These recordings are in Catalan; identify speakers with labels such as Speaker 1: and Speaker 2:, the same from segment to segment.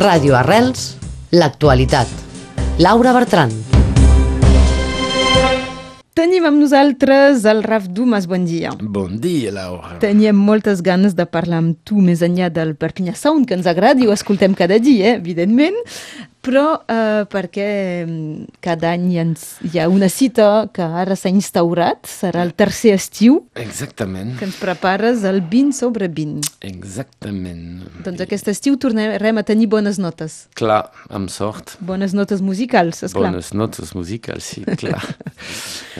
Speaker 1: Ràdio Arrels, l'actualitat. Laura Bertran.
Speaker 2: Tenim amb nosaltres el Raf Dumas, bon dia.
Speaker 3: Bon dia, Laura.
Speaker 2: Teníem moltes ganes de parlar amb tu més enllà del Perpinyà Sound, que ens agrada i ho escoltem cada dia, eh, evidentment, però eh, perquè mm, cada any hi ha, hi ha una cita que ara s'ha instaurat, serà el tercer estiu,
Speaker 3: Exactament,
Speaker 2: que ens prepares el 20 sobre 20.
Speaker 3: exactament.
Speaker 2: Doncs aquest estiu tornarem a tenir bones notes.
Speaker 3: Clar, amb sort.
Speaker 2: Bones notes musicals, esclar.
Speaker 3: Bones notes musicals, sí, clar.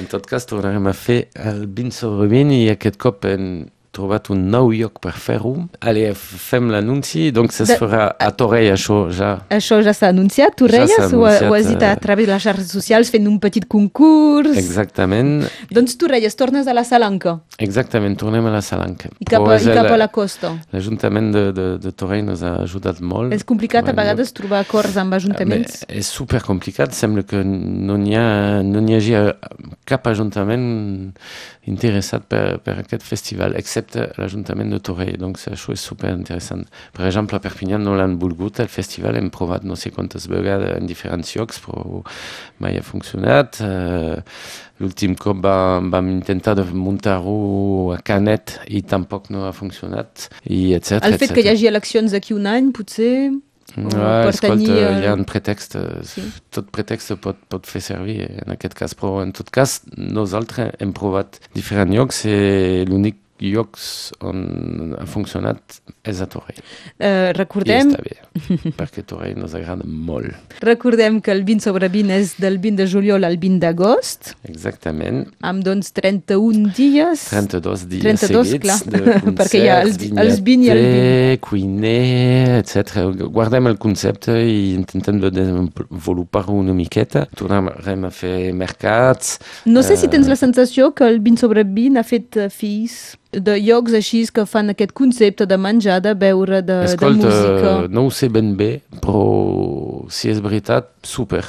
Speaker 3: en tot cas, tornarem a fer el 20 sobre 20 i aquest cop hem trobat un nou lloc per fer-ho. Allez, fem l'anunci, doncs es
Speaker 2: De-
Speaker 3: farà a Torrell, això ja.
Speaker 2: Això ja s'ha anunciat, tu
Speaker 3: Ja s'ha
Speaker 2: reies, ho, ha- ho has
Speaker 3: anunciat,
Speaker 2: dit a
Speaker 3: eh.
Speaker 2: través de les xarxes socials fent un petit concurs.
Speaker 3: Exactament,
Speaker 2: Doncs tu reies, tornes a la Salanca
Speaker 3: exactament, tornem a la Salanca.
Speaker 2: i cap,
Speaker 3: Però
Speaker 2: a,
Speaker 3: és
Speaker 2: i cap a
Speaker 3: la-
Speaker 2: la costa.
Speaker 3: L'Ajuntament de, de, de Torrell ens ha ajudat molt.
Speaker 2: És complicat a
Speaker 3: Mm. Bueno, Eh,
Speaker 2: vegades trobar acords amb ajuntaments.
Speaker 3: Bé, és Ah, super complicat, sembla que no n'hi ha, no n'hi hagi eh, cap ajuntament interessat per, per aquest festival, excepte l'Ajuntament de Torrell, doncs això és super interessant. Per exemple, a Perpinyà no l'han volgut, el festival hem provat no sé quantes vegades en diferents llocs, però mai ha funcionat. Eh, L'últim cop vam, vam intentar de muntar-ho a Canet i tampoc no ha funcionat, i etc.
Speaker 2: El fet que hi hagi eleccions d'aquí un any, potser... o
Speaker 3: Ja,
Speaker 2: per
Speaker 3: escolta,
Speaker 2: tenir, eh,
Speaker 3: hi ha un pretext, eh,
Speaker 2: sí.
Speaker 3: tot pretext pot, pot fer servir en aquest cas, però en tot cas nosaltres hem hein, provat diferents llocs i l'únic lloc on ha funcionat és a Torrell.
Speaker 2: Eh,
Speaker 3: I
Speaker 2: recordem,
Speaker 3: està bé, perquè Torrell ens agrada molt.
Speaker 2: recordem que el 20 sobre 20 és del 20 de juliol al 20 d'agost,
Speaker 3: Exactament.
Speaker 2: amb doncs 31 dies.
Speaker 3: 32 dies
Speaker 2: 32, clar,
Speaker 3: seguits de
Speaker 2: perquè hi ha
Speaker 3: concerts,
Speaker 2: els- els vint i el
Speaker 3: vinyater, cuiner, etc. Guardem el concepte i intentem de desenvolupar-ho una miqueta. Tornarem a fer mercats,
Speaker 2: No
Speaker 3: Eh.
Speaker 2: sé si tens la sensació que el 20 sobre 20 ha fet eh, fills de llocs així que fan aquest concepte de menjar, de beure, de, de
Speaker 3: Escolta,
Speaker 2: música.
Speaker 3: no ho sé ben bé, però si és veritat, super.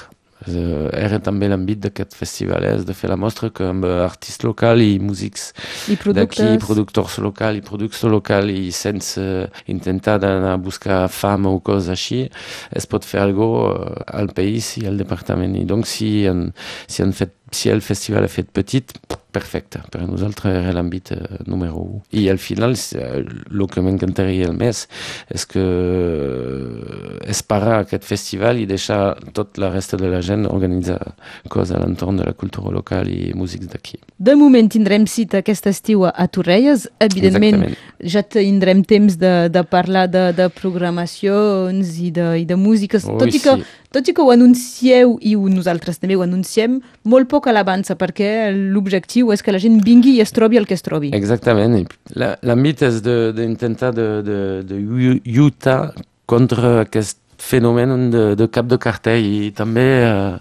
Speaker 3: Eh, Era també l'àmbit d'aquest festival, és de fer la mostra que amb eh, artists locals i músics
Speaker 2: I productes.
Speaker 3: d'aquí, productors locals i producció local euh, i sense intentar d'anar a buscar fama o cosa així, es pot fer algo eh, al país i al departament. I donc si, en, si, han fet, si el festival ha fet petit, perfecte. Per nosaltres era l'àmbit eh, número 1. I al final, el que m'encantaria el més és que eh, es parar aquest festival i deixar tota la resta de la euh, gent organitzar coses a l'entorn de la cultura local i músics d'aquí.
Speaker 2: De moment tindrem cita aquest estiu a- a Torrelles. Evidentment,
Speaker 3: Exactament.
Speaker 2: ja tindrem temps de, de parlar de, de programacions i de, i de músiques,
Speaker 3: Ui,
Speaker 2: tot, i que,
Speaker 3: sí.
Speaker 2: tot i que ho anuncieu, i ho, nosaltres també ho anunciem, molt poc a l'avança, perquè l'objectiu és que la gent vingui i es trobi el que es trobi.
Speaker 3: Exactament. I la- L'àmbit és de- d'intentar de, de, de, llu- lluitar contra aquest fenomen de, de cap de cartell i també eh,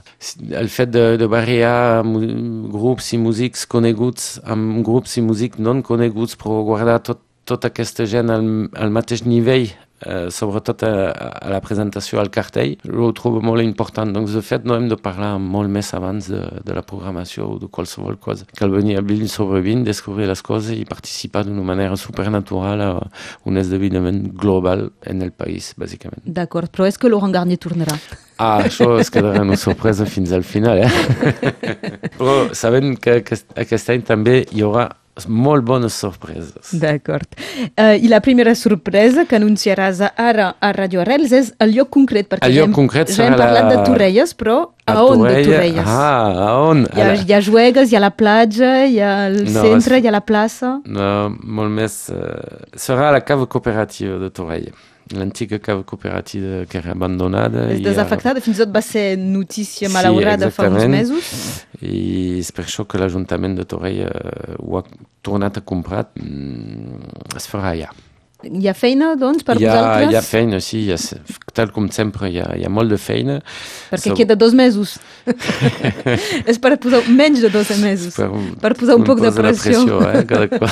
Speaker 3: el fet de, de barrejar mu- grups i músics coneguts amb grups i músics non coneguts però guardar tot, tota aquesta gent al, al mateix nivell eh, sobretot a, a la presentació al cartell, ho trobo molt important. Doncs, de fet, no hem de parlar molt més abans de, de la programació o de qualsevol cosa. Cal venir a 20 sobre 20, descobrir les coses i participar d'una manera supernatural a un esdeveniment global en el país, bàsicament.
Speaker 2: D'acord, però és que Laurent Garnier tornarà.
Speaker 3: Ah, això es quedarà una sorpresa fins al final, eh? Però sabem que aquest, aquest any també hi haurà molt bones sorpreses.
Speaker 2: D'acord. Eh, I la primera sorpresa que anunciaràs ara a Radio Arrels és el lloc concret, perquè
Speaker 3: El
Speaker 2: ja
Speaker 3: lloc
Speaker 2: hem,
Speaker 3: concret
Speaker 2: ja
Speaker 3: serà
Speaker 2: hem parlat
Speaker 3: la-
Speaker 2: de Torrelles, però a, on
Speaker 3: Torrella-
Speaker 2: de Torrelles?
Speaker 3: Ah, a on?
Speaker 2: Hi
Speaker 3: A
Speaker 2: ha,
Speaker 3: la-
Speaker 2: hi ha juegues, hi ha la platja, hi ha el
Speaker 3: No,
Speaker 2: centre,
Speaker 3: és-
Speaker 2: hi ha la plaça.
Speaker 3: No, molt més... Eh, serà a la cava cooperativa de Torrell, l'antiga cava cooperativa que era abandonada.
Speaker 2: És
Speaker 3: i ara-
Speaker 2: desafectada, fins i tot va ser notícia
Speaker 3: Sí,
Speaker 2: malaurada fa uns
Speaker 3: exactament.
Speaker 2: mesos.
Speaker 3: I és per això que l'Ajuntament de Torrell eh, ho ha tornat a comprar. Mm, es farà allà.
Speaker 2: Hi ha feina, doncs, per
Speaker 3: hi, ha,
Speaker 2: vosaltres?
Speaker 3: hi ha feina, sí, hi ha, se- tal com sempre, hi ha, hi ha molt de feina.
Speaker 2: Perquè
Speaker 3: So-
Speaker 2: queda dos mesos. és per posar menys de dos mesos.
Speaker 3: Per,
Speaker 2: Per posar um un
Speaker 3: em
Speaker 2: poc de
Speaker 3: posa la
Speaker 2: pressió.
Speaker 3: eh, cada cop.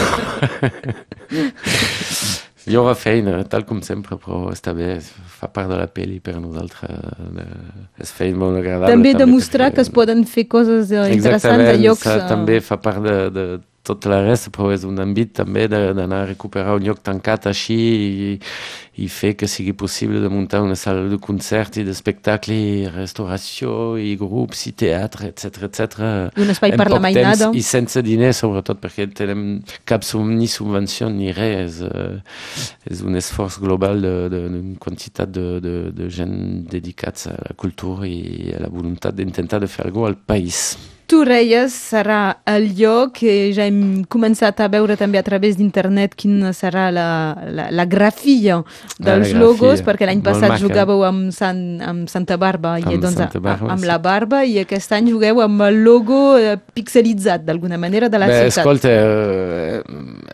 Speaker 3: Hi haurà feina, tal com sempre, però està bé, fa part de la pel·li per nosaltres. eh, És feina molt agradable.
Speaker 2: També demostrar que es
Speaker 3: perquè-
Speaker 2: poden fer coses eh, interessants a
Speaker 3: Exactament,
Speaker 2: llocs...
Speaker 3: ça,
Speaker 2: eh,
Speaker 3: també fa part de, de tota la resta, però és un àmbit també de- d'anar a recuperar un lloc tancat així i, i fer que sigui possible de muntar una sala de concerts i de spectacles, i restauració, i grups, i teatre, etc etc.
Speaker 2: I un espai
Speaker 3: En
Speaker 2: per la
Speaker 3: poc
Speaker 2: mainada.
Speaker 3: temps I sense diners, subrattot perquè tenem cap sub, ni subvenció ni res. eh, És un esforç global de- de- d'una quantitat de, de, de gent dedicats a la cultura i a la voluntat d'intentar de fer alguna cosa al país.
Speaker 2: Torrelles serà el lloc que ja hem començat a veure també a través d'internet quina serà la, la, la grafia dels
Speaker 3: grafia,
Speaker 2: logos, perquè l'any
Speaker 3: molt
Speaker 2: passat
Speaker 3: maca.
Speaker 2: jugàveu amb, Sant, amb Santa Barba i
Speaker 3: Amb
Speaker 2: doncs,
Speaker 3: Santa Barba,
Speaker 2: amb
Speaker 3: sí.
Speaker 2: la barba i aquest any jugueu amb el logo eh, pixelitzat d'alguna manera de la
Speaker 3: Bé,
Speaker 2: ciutat.
Speaker 3: escolta, eh,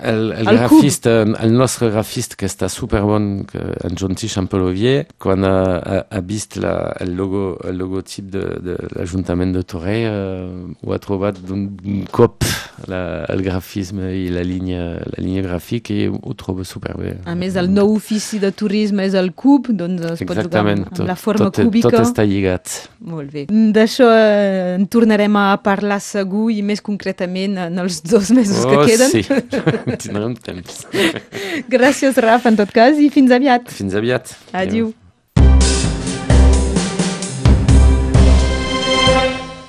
Speaker 3: el, el,
Speaker 2: El
Speaker 3: grafista, el euh, nostre grafista que està superbon, que, en Jonti Champelovier, quan ha, ha, ha vist euh, la, el, logo, el logotip de, de l'Ajuntament de Torrey, eh, ho ha trobat d'un d'un cop, la, el grafisme i la línia, euh, la línia gràfica, i ho trobo superbé.
Speaker 2: A més, el nou ofici de turisme és el cub, doncs es pot jugar
Speaker 3: Exactament,
Speaker 2: amb, amb
Speaker 3: tot,
Speaker 2: la hein. forma
Speaker 3: tot,
Speaker 2: cúbica.
Speaker 3: tot està lligat.
Speaker 2: Molt bé. D'això eh, en tornarem a parlar segur i més concretament en els dos mesos que queden.
Speaker 3: sí, tindrem temps.
Speaker 2: Gràcies, Rafa, en tot cas, i fins aviat.
Speaker 3: Fins aviat.
Speaker 2: Adéu.